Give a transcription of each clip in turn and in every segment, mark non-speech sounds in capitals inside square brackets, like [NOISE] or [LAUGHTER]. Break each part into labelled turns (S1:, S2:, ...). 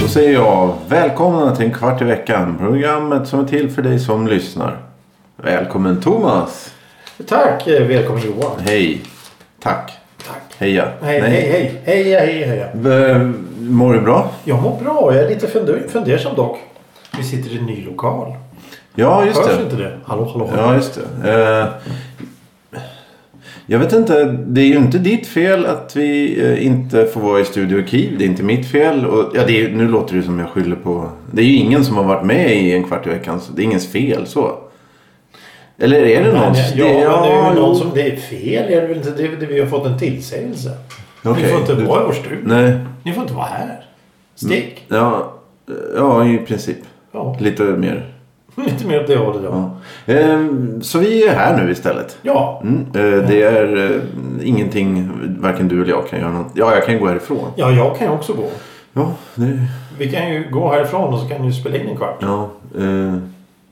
S1: Då säger jag välkomna till en kvart i veckan. Programmet som är till för dig som lyssnar. Välkommen Thomas.
S2: Tack! eh, Välkommen Johan.
S1: Hej. Tack.
S2: Tack.
S1: Heja.
S2: Hej,
S1: Nej.
S2: hej, hej. Heja, heja, heja.
S1: V- Mår du bra?
S2: Jag mår bra. Jag är lite funder- fundersam dock. Vi sitter i en ny lokal.
S1: Ja, just
S2: Hörs
S1: det.
S2: inte det? Hallå, hallå. hallå.
S1: Ja, just det. Eh, jag vet inte. Det är ju inte ditt fel att vi eh, inte får vara i Studio Kiv. Det är inte mitt fel. Och, ja, det är, ju- nu låter det som jag skyller på... Det är ju ingen som har varit med i en kvart i veckan. Så det är ingens fel så. Eller är det
S2: Men, eh,
S1: någons?
S2: ja,
S1: det,
S2: men det är ju
S1: jo.
S2: någon som... Det är fel. Är det väl inte? Det, det, vi har fått en tillsägelse.
S1: Okej, Mm.
S2: Ni får inte
S1: du-
S2: vara i vår studio.
S1: Nej.
S2: Ni får inte vara här. Stick.
S1: Ja, ja i princip.
S2: Ja. [LAUGHS]
S1: Lite mer.
S2: Lite mer åt det hållet ja.
S1: Ja. Ehm, Så vi är här nu istället.
S2: Ja.
S1: Mm, eh, det är eh, ingenting varken du eller jag kan göra något. Ja, jag kan gå härifrån.
S2: Ja, jag kan ju också gå.
S1: Ja, det,
S2: Vi kan ju gå härifrån och så kan ni spela in en kvart.
S1: ja, eh,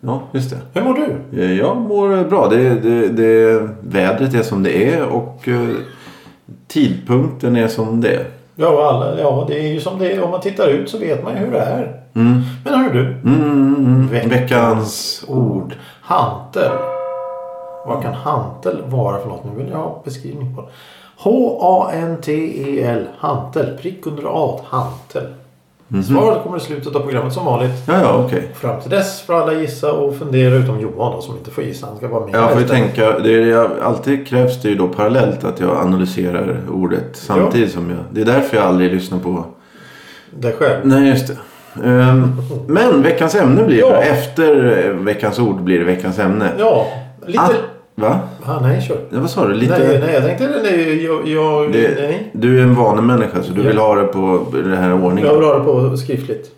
S1: ja just det.
S2: Hur mår du?
S1: Eh, Jag mår bra. Det, det, det, vädret är som det är och eh, tidpunkten är som det är.
S2: Ja, och alla, ja, det är ju som det är. Om man tittar ut så vet man ju hur det är. Men hör du.
S1: Mm, mm, mm.
S2: Veckans
S1: Veckans
S2: ord. Hantel. Vad kan hantel vara för något? Nu vill jag ha beskrivning på det. H-A-N-T-E-L. E Hantel. Prick under A. Hantel.
S1: Mhm.
S2: Svaret kommer i slutet av programmet som vanligt.
S1: Ja, ja, okej.
S2: Fram till dess får alla gissa och fundera utom Johan då, som inte får gissa. Han ska vara med.
S1: Jag får ju
S2: istället.
S1: tänka, det är, jag, alltid krävs det ju då parallellt att jag analyserar ordet samtidigt som jag. Det är därför jag aldrig lyssnar på.
S2: Dig själv.
S1: Nej, just det. Ehm, men veckans ämne blir
S2: Ja.
S1: det. Efter eh, veckans ord blir det veckans ämne.
S2: Ja, lite...
S1: Att, va?
S2: Ah, nej, kör.
S1: Ja, vad sa du? Lite...
S2: Nej, nej, jag tänkte... Nej, jag, jag,
S1: det,
S2: nej.
S1: Du är en vanemänniska så du
S2: Ja.
S1: vill ha det på den här
S2: jag
S1: ordningen.
S2: vill ha det på skriftligt.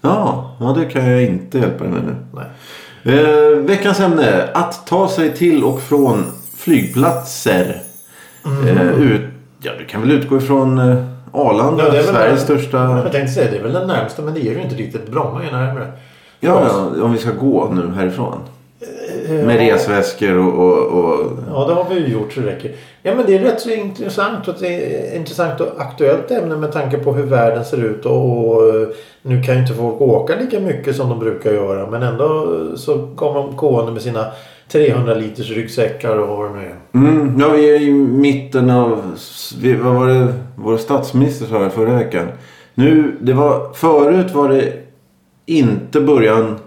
S1: Ja, ja, det kan jag inte hjälpa dig med nu.
S2: Nej.
S1: Eh, veckans ämne. Att ta sig till och från flygplatser. Eh, ut, ja, du kan väl utgå ifrån eh, Arlanda,
S2: Mm. Ja, det är väl
S1: Sveriges
S2: det.
S1: största...
S2: Jag tänkte säga det är väl den närmsta men det är ju inte riktigt. Bromma är ju närmare.
S1: Ja, ja, om vi ska gå nu härifrån.
S2: Eh,
S1: Med resväskor och... och, och
S2: Ja, det har vi ju gjort så det räcker. Ja, men det är rätt så intressant och, det är intressant och aktuellt ämne med tanke på hur världen ser ut. Och, och eh, nu kan ju inte folk åka lika mycket som de brukar göra. Men ändå eh, så kommer de gående med sina 300 liters ryggsäckar och vad det nu är.
S1: mm, ja, vi är i mitten av... Vi, vad var det vår statsminister sa här förra veckan? Nu, det var... Förut var det inte början...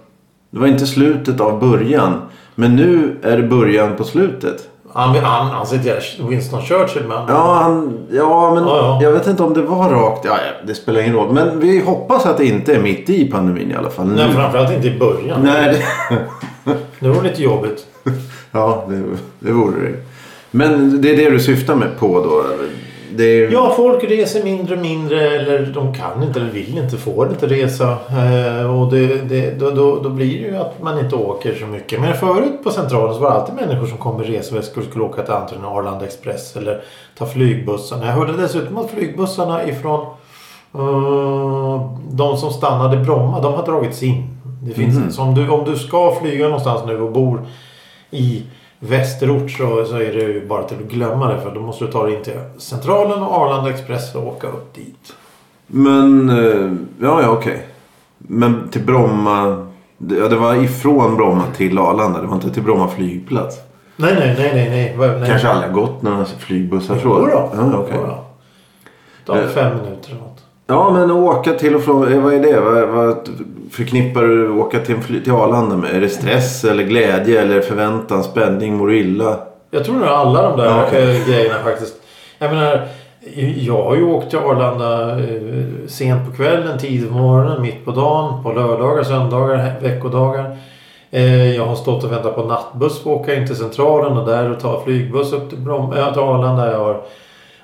S1: Det var inte slutet av början. Men nu är det början på slutet.
S2: Han, han, han sitter Winston Churchill men...
S1: Ja, han, ja men
S2: Ja, ja.
S1: jag vet inte om det var rakt. Ja, ja, det spelar ingen roll. Men vi hoppas att det inte är mitt i pandemin i alla fall. Nu.
S2: Nej, framförallt inte i början.
S1: Nej, det, [LAUGHS]
S2: Nu var det lite jobbigt.
S1: ja, det, det vore det. Men det är det du syftar med på då? Det är,
S2: Ja, folk reser mindre och mindre eller de kan inte eller vill inte, får inte resa. Eh, och det, det, då, då, då blir det ju att man inte åker så mycket. Men förut på Centralen så var det alltid människor som kom med resväskor och skulle åka till antingen Arlanda Express eller ta flygbussarna. Jag hörde dessutom att flygbussarna ifrån eh, de som stannade i Bromma, de har dragits in. Det finns,
S1: Mhm.
S2: så om, du, om du ska flyga någonstans nu och bor i västerort så, så är det ju bara till att glömma det för då måste du ta dig in till Centralen och Arlanda Express och åka upp dit.
S1: Men, eh, ja, ja okej. Men till Bromma. det- Ja, det var ifrån Bromma till Arlanda. Det var inte till Bromma flygplats.
S2: Nej, nej, nej, nej, nej. Va- nej.
S1: Kanske aldrig har gått några flygbussar så.
S2: Jodå.
S1: Ja, okej.
S2: Jodå. Ta
S1: Eh.
S2: fem minuter eller något.
S1: Ja, men åka till och från. eh, Vad är det? Vad, vad förknippar du åka till, en fly- till Arlanda med? Är det stress eller glädje eller förväntan, spänning, mår du illa?
S2: Jag tror nog alla de där
S1: Ja, okej.
S2: eh, grejerna faktiskt. Jag menar, jag har ju åkt till Arlanda eh, sent på kvällen, tidigt på morgonen, mitt på dagen, på lördagar, söndagar, he- veckodagar. Eh, Jag har stått och väntat på nattbuss för att åka in till Centralen och där och ta flygbuss upp till, Brom- äh, till Arlanda. Jag har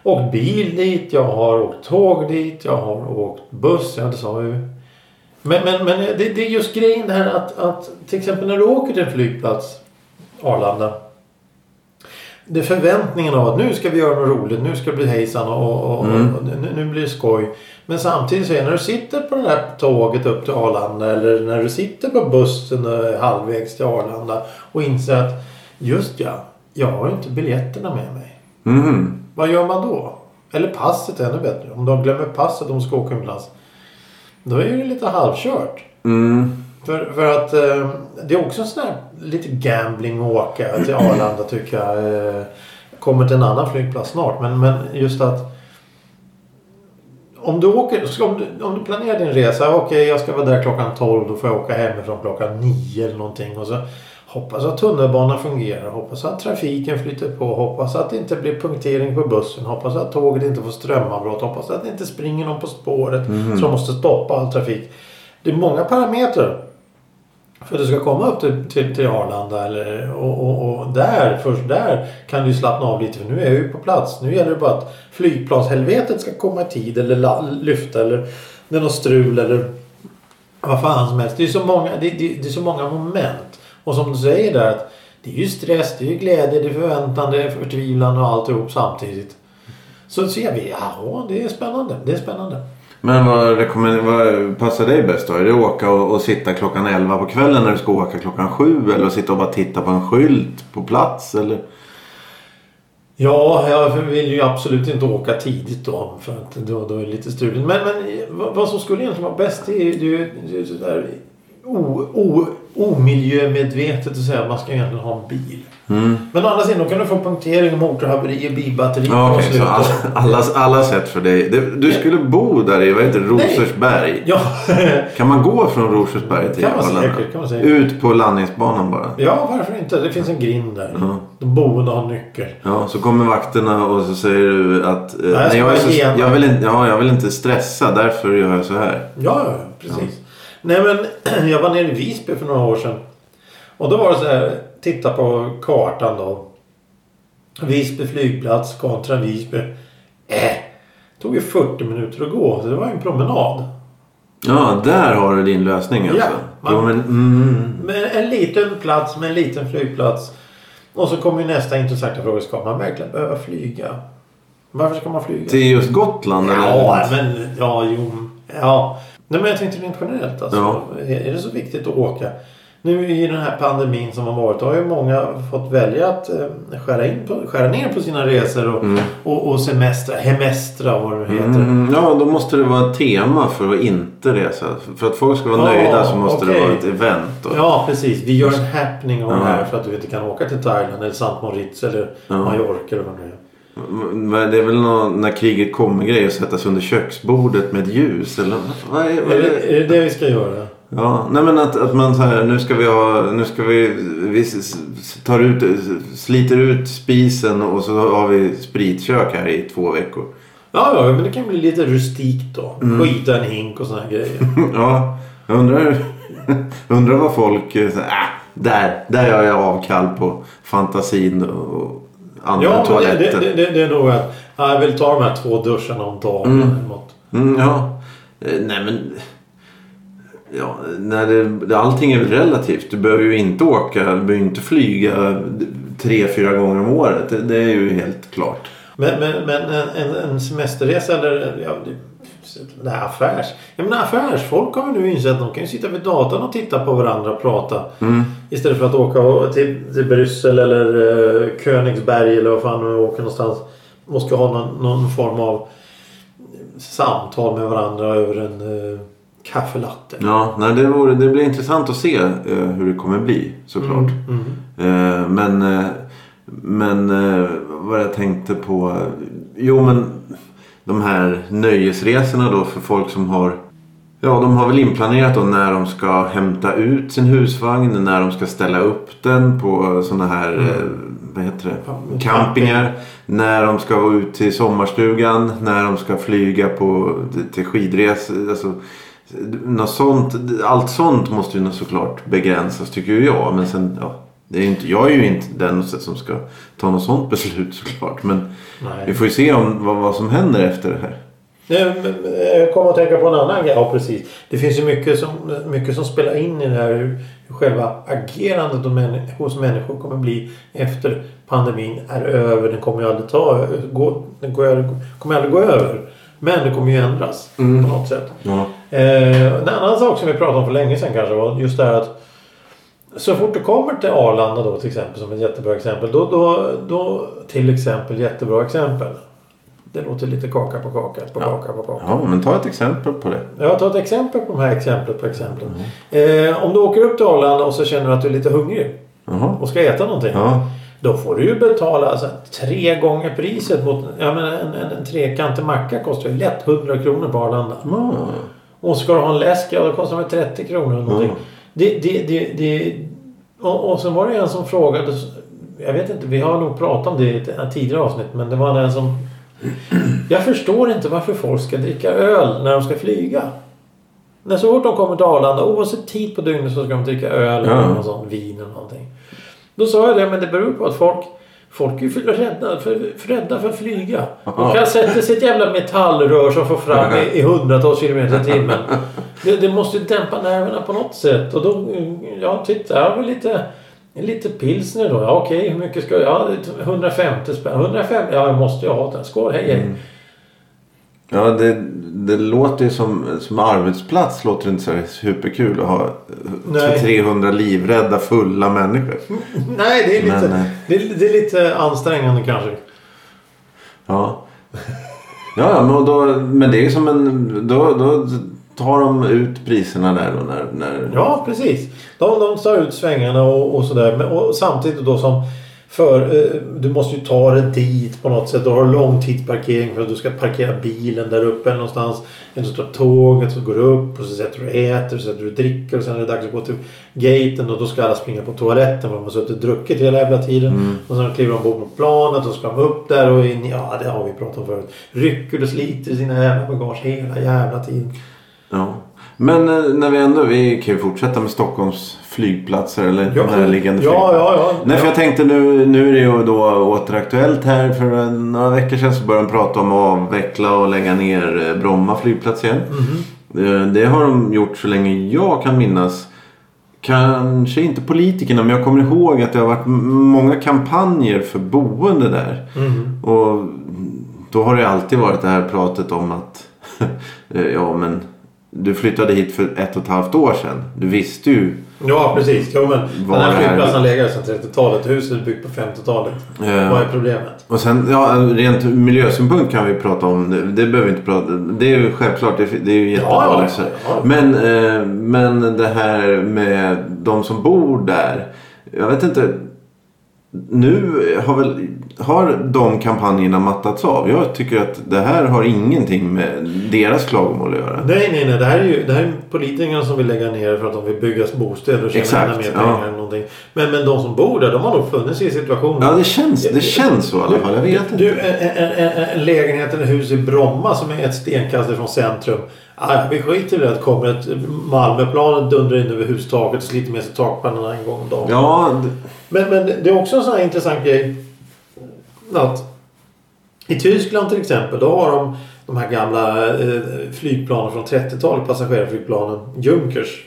S2: åkt bil dit, jag har åkt tåg dit, jag har åkt buss, ja det sa jag ju. Men, men, men eh, det, det är just grejen det här att, att till exempel när du åker till en flygplats, Arlanda. det är förväntningen av att nu ska vi göra något roligt, nu ska det bli hejsan och, och, och nu, nu blir det skoj. Men samtidigt så är det när du sitter på det där tåget upp till Arlanda eller när du sitter på bussen eh, halvvägs till Arlanda och inser att just ja, jag har ju inte biljetterna med mig.
S1: Mhm.
S2: Vad gör man då? Eller passet är ännu bättre. Om de glömmer passet om de ska åka utomlands. Då är det lite halvkört.
S1: Mm.
S2: För, för att eh, det är också en sån här lite gambling att åka till Arlanda tycker jag. Eh, kommer till en annan flygplats snart. Men, men just att om du, åker, ska- om, du, om du planerar din resa. Okej, jag ska vara där klockan 12. Då får jag åka hemifrån klockan 9 eller någonting. Och så hoppas att tunnelbanan fungerar. Hoppas att trafiken flyter på. Hoppas att det inte blir punktering på bussen. Hoppas att tåget inte får strömavbrott. Hoppas att det inte springer någon på spåret. Som måste stoppa all trafik. Det är många parametrar. För att du ska komma upp till, till, till Arlanda eller, och, och, och där, först där kan du ju slappna av lite för nu är jag ju på plats. Nu gäller det bara att flygplanshelvetet ska komma i tid eller la, lyfta eller det är något strul eller vad fan som helst. Det är så många, det, det, det är så många moment. Och som du säger där att det är ju stress, det är ju glädje, det är förväntan, det är förtvivlan och alltihop samtidigt. Så ser vi, ja det är spännande, det är spännande.
S1: Men vad, rekommend- vad passar dig bäst då? Är det att åka och, och sitta klockan 11 på kvällen när du ska åka klockan 7? Eller att sitta och bara titta på en skylt på plats? Eller?
S2: Ja, jag vill ju absolut inte åka tidigt då för att då, då är det lite struligt. Men, men vad vad som skulle egentligen vara bäst det är ju det är ju- det är ju sådär o- o- omiljömedvetet att säga att man ska egentligen ha en bil.
S1: Mm.
S2: Men å andra sidan då kan du få punktering, motorhaverier, bilbatterier
S1: Ja,
S2: och
S1: okej, så alla, alla, alla sätt för dig. Du, du skulle bo där i, vad heter det, Rosersberg?
S2: Ja, [LAUGHS]
S1: Kan man gå från Rosersberg till
S2: Kan man
S1: Arlanda?
S2: säkert, kan man säkert.
S1: Ut på landningsbanan bara?
S2: ja, varför inte? Det finns en grind där. De boende har nyckel.
S1: Ja, så kommer vakterna och så säger du att eh,
S2: jag
S1: nej,
S2: ska
S1: jag, är
S2: bara
S1: så,
S2: ge en-
S1: jag, vill inte, ja, jag vill inte stressa, därför gör jag så här.
S2: Ja, ja, precis. Nej men [CLEARS THROAT] jag var nere i Visby för några år sedan. Och då var det så här, titta på kartan då. Visby flygplats kontra Visby. Äh, tog ju 40 minuter att gå. Så det var ju en promenad.
S1: Ja, där har du din lösning alltså.
S2: man-
S1: jo, men, mm,
S2: Men en liten plats med en liten flygplats. Och så kommer ju nästa intressanta fråga. Ska man verkligen behöva flyga? Varför ska man flyga?
S1: till just Gotland
S2: Ja,
S1: eller?
S2: men ja, jo. Ja. Nej, men jag tänkte rent generellt alltså.
S1: Ja.
S2: Är är det så viktigt att åka? Nu i den här pandemin som har varit har ju många fått välja att eh, skära, in på, skära ner på sina resor och, och, och semestra, hemestra vad det heter.
S1: Mm, ja, då måste det vara ett tema för att inte resa. För att folk ska vara
S2: Ja,
S1: nöjda så måste det
S2: okej.
S1: vara ett event. Då.
S2: Ja, precis. Vi gör en happening av det här
S1: Ja.
S2: för att du inte kan åka till Thailand eller Sant Moritz eller Mallorca eller vad det nu är.
S1: Men det är väl någon, när kriget kommer grej att sätta sig under köksbordet med ett ljus eller vad är, vad är
S2: Är
S1: det?
S2: det, är det det vi ska göra?
S1: Ja, nej men att, att man så här, nu ska vi ha, nu ska vi, vi s- s- tar ut, sliter ut spisen och så har vi spritkök här i två veckor. [LAUGHS]
S2: Ja, ja, men det kan bli lite rustikt då.
S1: Mm.
S2: Skita en hink och såna här grejer.
S1: Ja, jag undrar, [LAUGHS] undrar vad folk, eh, så här, äh, där, där gör jag avkall på fantasin och andra
S2: Ja, men det,
S1: toaletter.
S2: det, det, det, det är nog att ja, jag vill ta de här två duscharna om dagen. eller något.
S1: Mm, ja. Eh, Nej men... Ja, när det, det- allting är väl relativt. Du behöver ju inte åka, du behöver ju inte flyga tre, fyra gånger om året. Det, det är ju helt klart.
S2: Men, men, men en, en, en semesterresa eller ja, det, det här affärs... Jag menar affärsfolk har väl nu insett att de kan ju sitta vid datorn och titta på varandra och prata. Istället för att åka och- till, till Bryssel eller eh, Königsberg eller vad fan de åker någonstans. Och ska ha någon, någon form av samtal med varandra över en eh, kaffelatte.
S1: Ja, nej, det, vore, det blir intressant att se eh, hur det kommer bli
S2: Mm.
S1: såklart. Eh, men eh, men eh, vad jag tänkte på. Jo men de här nöjesresorna då för folk som har. Ja de har väl inplanerat då när de ska hämta ut sin husvagn. När de ska ställa upp den på sådana här. Eh, vad heter det?
S2: Camping.
S1: Campingar. När de ska vara ut till sommarstugan. När de ska flyga på, till skidres. Alltså, något sånt, allt sånt måste ju såklart begränsas tycker ju jag. Men sen, ja, det är ju inte, jag är ju inte den som ska ta något sånt beslut [LAUGHS] såklart. Men
S2: Nej.
S1: vi får ju se om, vad, vad som händer efter det här.
S2: Nej, men, men, Jag kom att tänka på en annan grej. Ja, precis. Det finns ju mycket som, mycket som spelar in i det här. Hur hur själva agerandet och män, hos människor kommer bli efter pandemin är över. Den kommer ju aldrig ta... Gå, den går, aldrig- kommer aldrig gå över. Men det kommer ju ändras på något sätt.
S1: Ja.
S2: Eh, en annan sak som vi pratade om för länge sedan kanske var just det här att så fort du kommer till Arlanda då till exempel som ett jättebra exempel. Då, då, då till exempel jättebra exempel. Det låter lite kaka på kaka på kaka på kaka.
S1: ja, men ta ett exempel på det.
S2: Jag tar ett exempel på de här exemplet på exemplen.
S1: Mm.
S2: Eh, om du åker upp till Arlanda och så känner du att du är lite hungrig
S1: Jaha.
S2: och ska äta någonting.
S1: Ja.
S2: Då får du ju betala alltså, tre gånger priset mot... Jag menar, en, en, en trekantig macka kostar ju lätt 100 kronor på Arlanda.
S1: Ja.
S2: Och ska du ha en läsk, ja då kostar det 30 kronor eller någonting.
S1: Mm.
S2: Det, det, det, det, och, och sen var det en som frågade, jag vet inte, vi har nog pratat om det i ett tidigare avsnitt, men det var den som... Jag förstår inte varför folk ska dricka öl när de ska flyga. När så fort de kommer till Arlanda, oavsett tid på dygnet så ska de dricka öl eller
S1: Ja.
S2: någon sån vin eller någonting. Då sa jag det, men det beror på att folk, folk är ju för rädda för, för, rädda för att flyga.
S1: Ja.
S2: De kan sätta sig i ett jävla metallrör som får fram i, i hundratals kilometer i timmen. Det, det måste ju dämpa nerverna på något sätt. Och då, ja titta, här har vi lite, lite pilsner då. Ja, okej, hur mycket ska jag? Ja, 150 spänn. 150? Ja, jag måste ju ha den. Skål, hej hej.
S1: Ja, det, det låter ju som, som arbetsplats låter det inte så här superkul att ha eh,
S2: Nej.
S1: 300 livrädda fulla människor.
S2: Nej, [LAUGHS] det är, lite,
S1: Men, eh,
S2: det, är, det är lite ansträngande kanske.
S1: Ja. Ja, ja, men, då, men det är ju som en... Då, då tar de ut priserna där då när... när
S2: Ja, precis. De, de tar ut svängarna och, och sådär. Men, och samtidigt då som för, eh, du måste ju ta dig dit på något sätt. Du har långtidsparkering för att du ska parkera bilen där uppe eller någonstans. Eller så tar tåget så går du upp och så sätter du och äter, så sätter du och dricker och sen är det dags att gå till gaten och då ska alla springa på toaletten för de har suttit och druckit hela jävla tiden.
S1: Mm.
S2: Och sen kliver de ombord på planet och så ska de upp där och in. Ja, det har vi pratat om förut. Rycker och sliter i sina jävla bagage hela jävla tiden.
S1: ja. Men eh, när vi ändå... Vi kan ju fortsätta med Stockholms flygplatser eller närliggande
S2: ja, ja, ja.
S1: Nej,
S2: ja.
S1: för jag tänkte nu, nu är det ju då åter aktuellt här. För en- några veckor sedan så började de prata om att avveckla och lägga ner eh, Bromma flygplats igen.
S2: Mm-hmm.
S1: Eh, Det har de gjort så länge jag kan minnas. Kanske inte politikerna, men jag kommer ihåg att det har varit m- många kampanjer för boende där.
S2: Mm.
S1: Och då har det alltid varit det här pratet om att [LAUGHS] eh, ja, men du flyttade hit för ett och ett halvt år sedan. Du visste ju
S2: Ja, precis. Jo, men
S1: Var
S2: den här
S1: det här-
S2: flygplatsen har legat sedan 30-talet. Huset är byggt på 50-talet.
S1: Ja.
S2: Vad är problemet?
S1: Och sen, ja, rent ur miljösynpunkt kan vi prata om det. Det behöver vi inte prata Det är ju självklart, det är- det är ju jättebra.
S2: Ja, ja,
S1: liksom.
S2: ja.
S1: Men, eh, men det här med de som bor där. Jag vet inte. Nu har väl har de kampanjerna mattats av. Jag tycker att det här har ingenting med deras klagomål att göra.
S2: Nej, nej, nej. Det här är ju det här är politikerna som vill lägga ner för att de vill bygga bostäder och tjäna
S1: Exakt,
S2: ännu mer
S1: ja.
S2: pengar. Eller någonting. Men, men de som bor där, de har nog funnits i situationen.
S1: Ja, det känns, det känns så i alla fall. Jag vet inte.
S2: Du, en, en, en, en lägenhet eller hus i Bromma som är ett stenkast från centrum. Ah, vi skiter i det. Kommer ett Malmöplanet dundrar in över hustaket och sliter med sig takpannorna en gång om dagen.
S1: Ja, d-
S2: Men, men det är också en sån här intressant grej. Att I Tyskland till exempel då har de de här gamla eh, flygplanen från 30-talet. Passagerarflygplanen Junkers.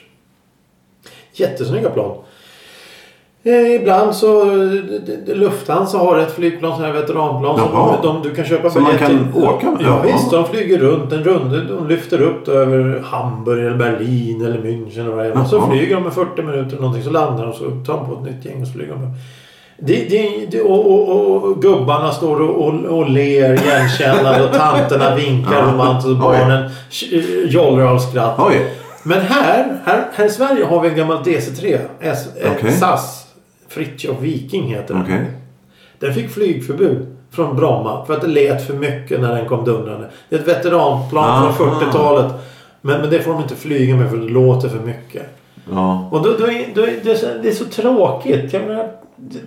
S2: Jättesnygga plan. Eh, ibland så eh, d- d- Lufthansa har ett flygplan, sån här veteranplan.
S1: Jaha.
S2: Som de, du kan köpa
S1: Som man
S2: biljett
S1: kan
S2: till.
S1: åka med?
S2: Ja,
S1: Jaha.
S2: visst, de flyger runt en runda. De lyfter upp det över Hamburg eller Berlin eller München. Eller vad det är. Och så
S1: Jaha.
S2: flyger de i 40 minuter eller någonting. Så landar de och så tar de på ett nytt gäng och så flyger de. Det, det, det, och, och, och gubbarna står och, och, och ler igenkännande och tanterna vinkar
S1: Ja.
S2: romantiskt och
S1: Oj.
S2: barnen eh, jollrar av skratt.
S1: oj.
S2: Men här, här, här i Sverige har vi en gammal DC3. S, eh,
S1: Okej.
S2: SAS. Fritiof Viking heter den.
S1: Okej.
S2: Den fick flygförbud från Bromma för att det lät för mycket när den kom dundrande. Det är ett veteranplan från
S1: Aha.
S2: 40-talet. Men, men det får de inte flyga med för det låter för mycket.
S1: Ja.
S2: Och då, då, är, då är, det, är så, det är så tråkigt. Jag menar, det,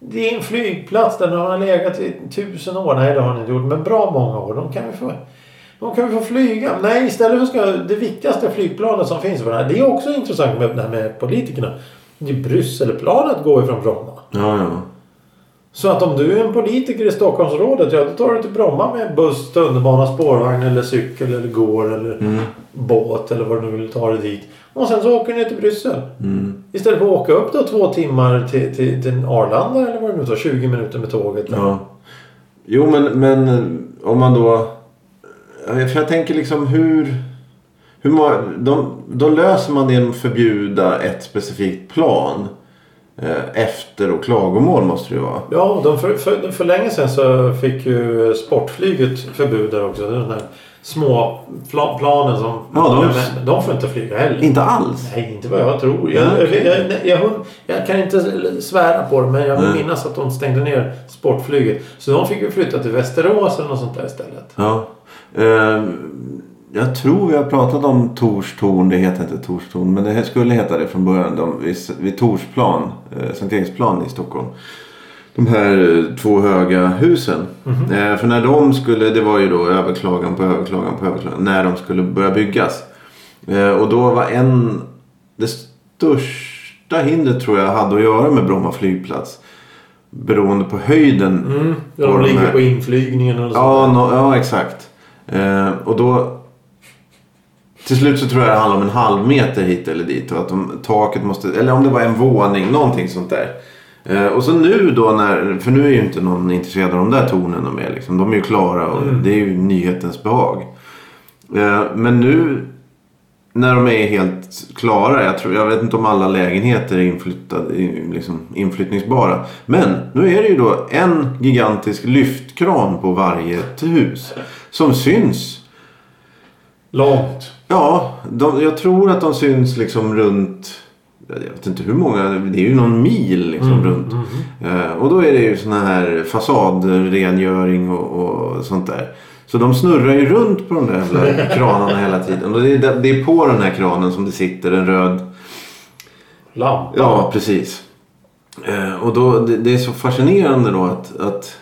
S2: det är en flygplats där den har legat i tusen år. Nej, det har den inte gjort. Men bra många år. De kan vi få, de kan vi få flyga. Nej, istället för ska det viktigaste flygplanet som finns. För det, här. det är också intressant med det här med politikerna. Det är Brysselplanet går ju från Bromma.
S1: Ja, ja.
S2: Så att om du är en politiker i Stockholmsrådet, ja då tar du till Bromma med buss, tunnelbana, spårvagn eller cykel eller går eller
S1: Mm.
S2: båt eller vad du nu vill ta dig dit. Och sen så åker du ner till Bryssel.
S1: Mm.
S2: Istället för att åka upp då två timmar till, till, till Arlanda eller vad det nu tar, 20 minuter med tåget.
S1: Ja. Jo, men, men eh, om man då... Ja, För jag tänker liksom hur... hur många, de, då löser man det genom att förbjuda ett specifikt plan. Eh, efter och klagomål måste det ju vara.
S2: Ja, de för, för, för länge sedan så fick ju sportflyget förbud där också. Den där små pla, planen som...
S1: Ja, de-
S2: men de får inte flyga heller.
S1: Inte alls.
S2: Nej, inte vad jag tror. Jag,
S1: Nej,
S2: jag,
S1: okej.
S2: jag, jag, jag, kan inte svära på det, men jag vill
S1: Nej.
S2: minnas att de stängde ner sportflyget. Så de fick ju flytta till Västerås eller något sånt där istället.
S1: Ja. Eh, jag tror vi har pratat om Torstorn. Det heter inte Torstorn. Men det skulle heta det från början. De, vid, vid Torsplan. Eh, Sankt Eriksplan i Stockholm. De här eh, två höga husen. Eh, för när de skulle. Det var ju då överklagan på överklagan på överklagan. När de skulle börja byggas. Eh, och då var en. Det största hindret tror jag hade att göra med Bromma flygplats. Beroende på höjden.
S2: Mm, ja,
S1: Och
S2: de
S1: de
S2: ligger
S1: här-
S2: på inflygningen eller
S1: Ja, nå- ja exakt. Eh, och då... Till slut så tror jag det handlar om en halv meter hit eller dit. Och att de, taket måste... Eller om det var en våning, någonting sånt där. Eh, och så nu då när... För nu är ju inte någon intresserad av de där tornen de är. Liksom. De är ju klara och det är ju nyhetens behag. Eh, men nu när de är helt klara. Jag, tror, jag vet inte om alla lägenheter är inflyttade, i- liksom, inflyttningsbara. Men nu är det ju då en gigantisk lyftkran på varje hus. Som syns.
S2: Långt.
S1: Ja, de, jag tror att de syns liksom runt... Jag vet inte hur många. Det är ju någon mil liksom runt. Eh, och då är det ju sån här fasadrengöring och, och sånt där. Så de snurrar ju runt på de där jävla kranarna hela tiden. Och det är, där- det är på den här kranen som det sitter en röd
S2: Lamp.
S1: Ja, precis. Eh, och då, det, det är så fascinerande då att, att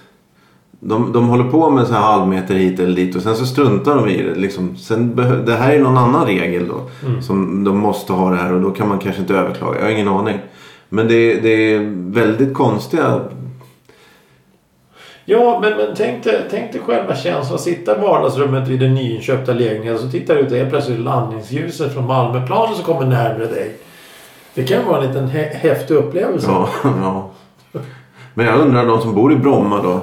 S1: de, de håller på med så här halvmeter hit eller dit och sen så struntar de i det. Liksom. Sen behö- det här är någon annan regel då. Som de måste ha det här och då kan man kanske inte överklaga. Jag har ingen aning. Men det, det är väldigt konstiga...
S2: Ja, men, men tänk, dig, tänk dig själva känslan. att Sitta i vardagsrummet vid den nyinköpta lägenheten. Så tittar du ut och helt plötsligt landningsljuset från Malmöplanen som kommer närmare dig. Det kan vara en liten hä- häftig upplevelse.
S1: Ja, [LAUGHS] ja. Men jag undrar de som bor i Bromma då. eh,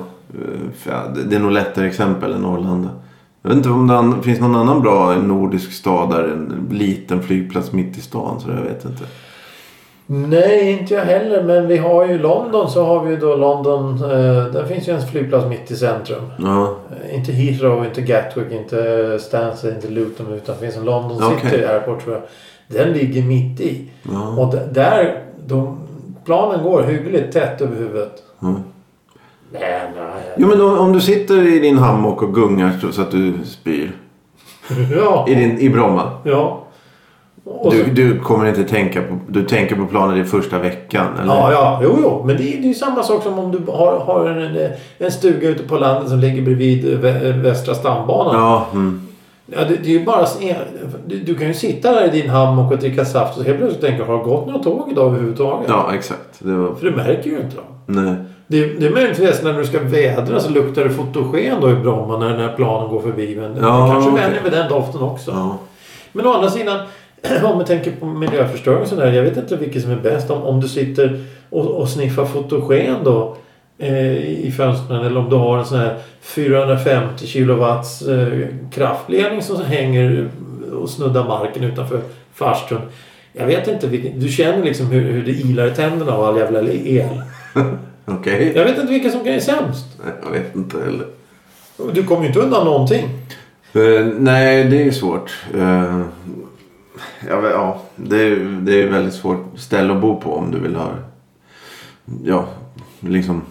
S1: För ja, det- det är nog lättare exempel än Arlanda. Jag vet inte om det an- finns någon annan bra nordisk stad där en liten flygplats mitt i stan. Så jag vet inte.
S2: Nej, inte jag heller. Men vi har ju London så har vi ju då London. Eh, där finns ju en flygplats mitt i centrum.
S1: Ja,
S2: Eh, inte Heathrow, inte Gatwick, inte Stansted, inte Luton. Utan det finns en London
S1: Okej.
S2: City Airport tror jag. Den ligger mitt i.
S1: ja.
S2: Och d- där, de, planen går hyggligt tätt över huvudet.
S1: Mm.
S2: Nej, nej. [LAUGHS]
S1: Jo men om, om du sitter i din hammock och gungar så- så att du spyr.
S2: Ja.
S1: I, din, i Bromma.
S2: ja. Och så,
S1: Du, du kommer inte tänka på... Du tänker på planen i första veckan eller?
S2: ja, ja. Jo, jo. Men det är det är ju samma sak som om du har, har en, en stuga ute på landet som ligger bredvid eh, vä, Västra stambanan.
S1: Ja, mm.
S2: Ja, det, det är ju bara... se- Du, du kan ju sitta där i din hammock och dricka saft och helt plötsligt tänka har det gått några tåg idag överhuvudtaget?
S1: ja exakt. Det var...
S2: För du märker ju inte dem.
S1: Nej.
S2: Det, det är möjligtvis när du ska vädra så luktar det fotogen då i Bromma när, när planen går förbi. Men
S1: Ja,
S2: du kanske
S1: okej.
S2: vänjer vid den doften också.
S1: Ja.
S2: Men å andra sidan, [CLEARS THROAT] om vi tänker på miljöförstöring och sådär. Jag vet inte vilket som är bäst. Om, om du sitter och, och sniffar fotogen då eh, i fönstren eller om du har en sån här 450 kilowatts eh, kraftledning som hänger och snuddar marken utanför farstun. Jag vet inte vilken, du känner liksom hur, hur det ilar i tänderna av all jävla el.
S1: Okej.
S2: Jag vet inte vilka som kan är sämst.
S1: Nej, Jag vet inte heller.
S2: Du kommer ju inte undan någonting.
S1: Eh, nej, det är svårt. Eh, ja, men, ja, det, är, det är väldigt svårt ställe att bo på om du vill ha ja, liksom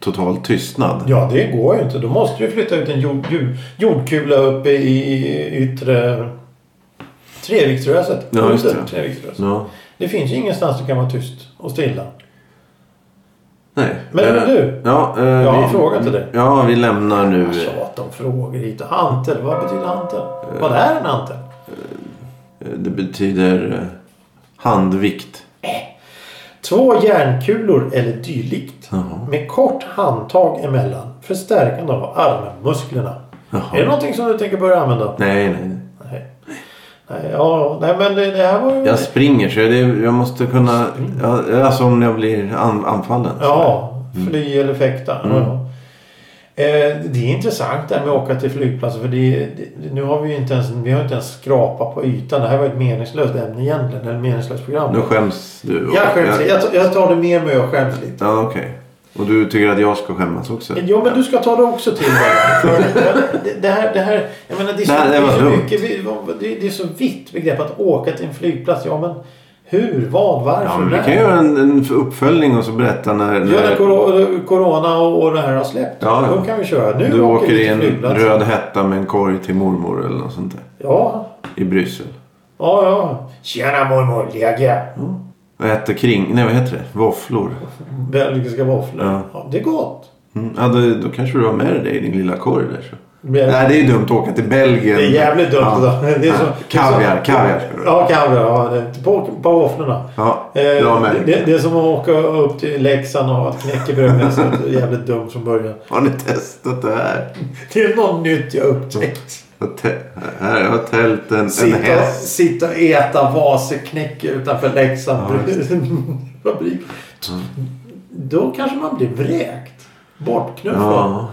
S1: total tystnad.
S2: Ja, det går ju inte. Då måste du flytta ut en jord, jord, jordkula uppe i yttre Treviktsröset.
S1: Ja, just det.
S2: Under Treviktsröset.
S1: Ja.
S2: Det finns ju ingenstans du kan vara tyst och stilla.
S1: Nej.
S2: Men, men
S1: Eh,
S2: du?
S1: Ja, eh,
S2: Jag har en fråga till dig. Alltså.
S1: Ja, vi lämnar nu.
S2: Jag tjatar om frågor hit och hantel. Vad betyder hantel? Vad är en hantel?
S1: eh, Det betyder eh, handvikt.
S2: Två järnkulor eller dylikt
S1: Jaha.
S2: med kort handtag emellan för stärkande av armmusklerna.
S1: Jaha.
S2: Är det någonting som du tänker börja använda?
S1: Nej, nej.
S2: Nej. Nej, ja, nej men det, det här var ju...
S1: Jag springer så det, jag måste kunna... Ja, alltså om jag blir an, anfallen.
S2: Ja,
S1: Mm.
S2: fly eller fäkta. Ja, ja. Eh, Det är intressant det här med att åka till flygplatsen för det, det, nu har vi ju inte ens, vi har inte ens skrapat på ytan. Det här var ett meningslöst ämne egentligen, eller ett meningslöst program.
S1: Nu skäms du.
S2: Jag skäms, jag, tar- jag tar det med mig och skäms lite.
S1: Ja, okej. Och du tycker att jag ska skämmas också?
S2: Jo men du ska ta det också till dig. För det, det, här, det här, jag menar det är så,
S1: Det här- det
S2: det
S1: var
S2: är så
S1: dumt.
S2: mycket, vi- det, det är så vitt begrepp att åka till en flygplats. Ja men hur, vad, varför,
S1: Ja, men
S2: när?
S1: vi kan göra en, en uppföljning och så berätta när...
S2: Ja, när
S1: när
S2: coro- corona och och det här har släppt.
S1: Ja, ja.
S2: Då kan vi köra. Nu
S1: du åker
S2: vi
S1: i
S2: till
S1: en
S2: flygplatsen.
S1: röd hetta med en korg till mormor eller något sånt där.
S2: Ja,
S1: I Bryssel.
S2: ja, ja. Tjena mormor, läge?
S1: Och äter kring... Nej, vad heter det? Våfflor.
S2: Belgiska våfflor.
S1: Ja.
S2: Ja. det är gott.
S1: Mm. Ja, då, då kanske du har med dig i din lilla korg där. Så.
S2: Det är-
S1: Nej, det är ju dumt att åka till Belgien.
S2: Det är jävligt dumt.
S1: Ja.
S2: idag. Det är så, det
S1: Kaviar,
S2: är så,
S1: kaviar ska du ha.
S2: Ja, kaviar. Ja, det- på, på våfflorna.
S1: Ja,
S2: Eh,
S1: du har med
S2: det,
S1: dig.
S2: det är som att åka upp till Leksand och ha ett knäckebröd med sig. Det är jävligt dumt från början.
S1: Har ni testat det här?
S2: Det är något nytt jag upptäckt.
S1: Jag tä- här, jag har tält en, en
S2: Sitta,
S1: häst.
S2: sitta och äta vaseknäcke utanför Leksand
S1: Ja,
S2: [LAUGHS]
S1: Mm.
S2: fabrik. Då kanske man blir vräkt. Bortknuffad.
S1: Ja,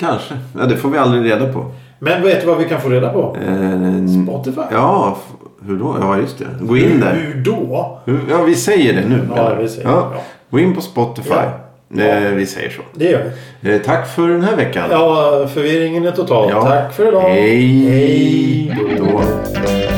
S1: kanske. Ja, det får vi aldrig reda på.
S2: Men vet du vad vi kan få reda på?
S1: Eh,
S2: Spotify.
S1: Ja, f- hur då? Ja, just det. Gå in där.
S2: Hur då?
S1: Hur- Ja, vi säger det nu.
S2: Ja,
S1: eller?
S2: vi säger det,
S1: ja.
S2: ja.
S1: Gå in på Spotify.
S2: Ja.
S1: Eh, vi säger så.
S2: Det gör vi.
S1: Eh, tack för den här veckan.
S2: Ja, förvirringen är total.
S1: Ja.
S2: Tack för idag.
S1: Hej då.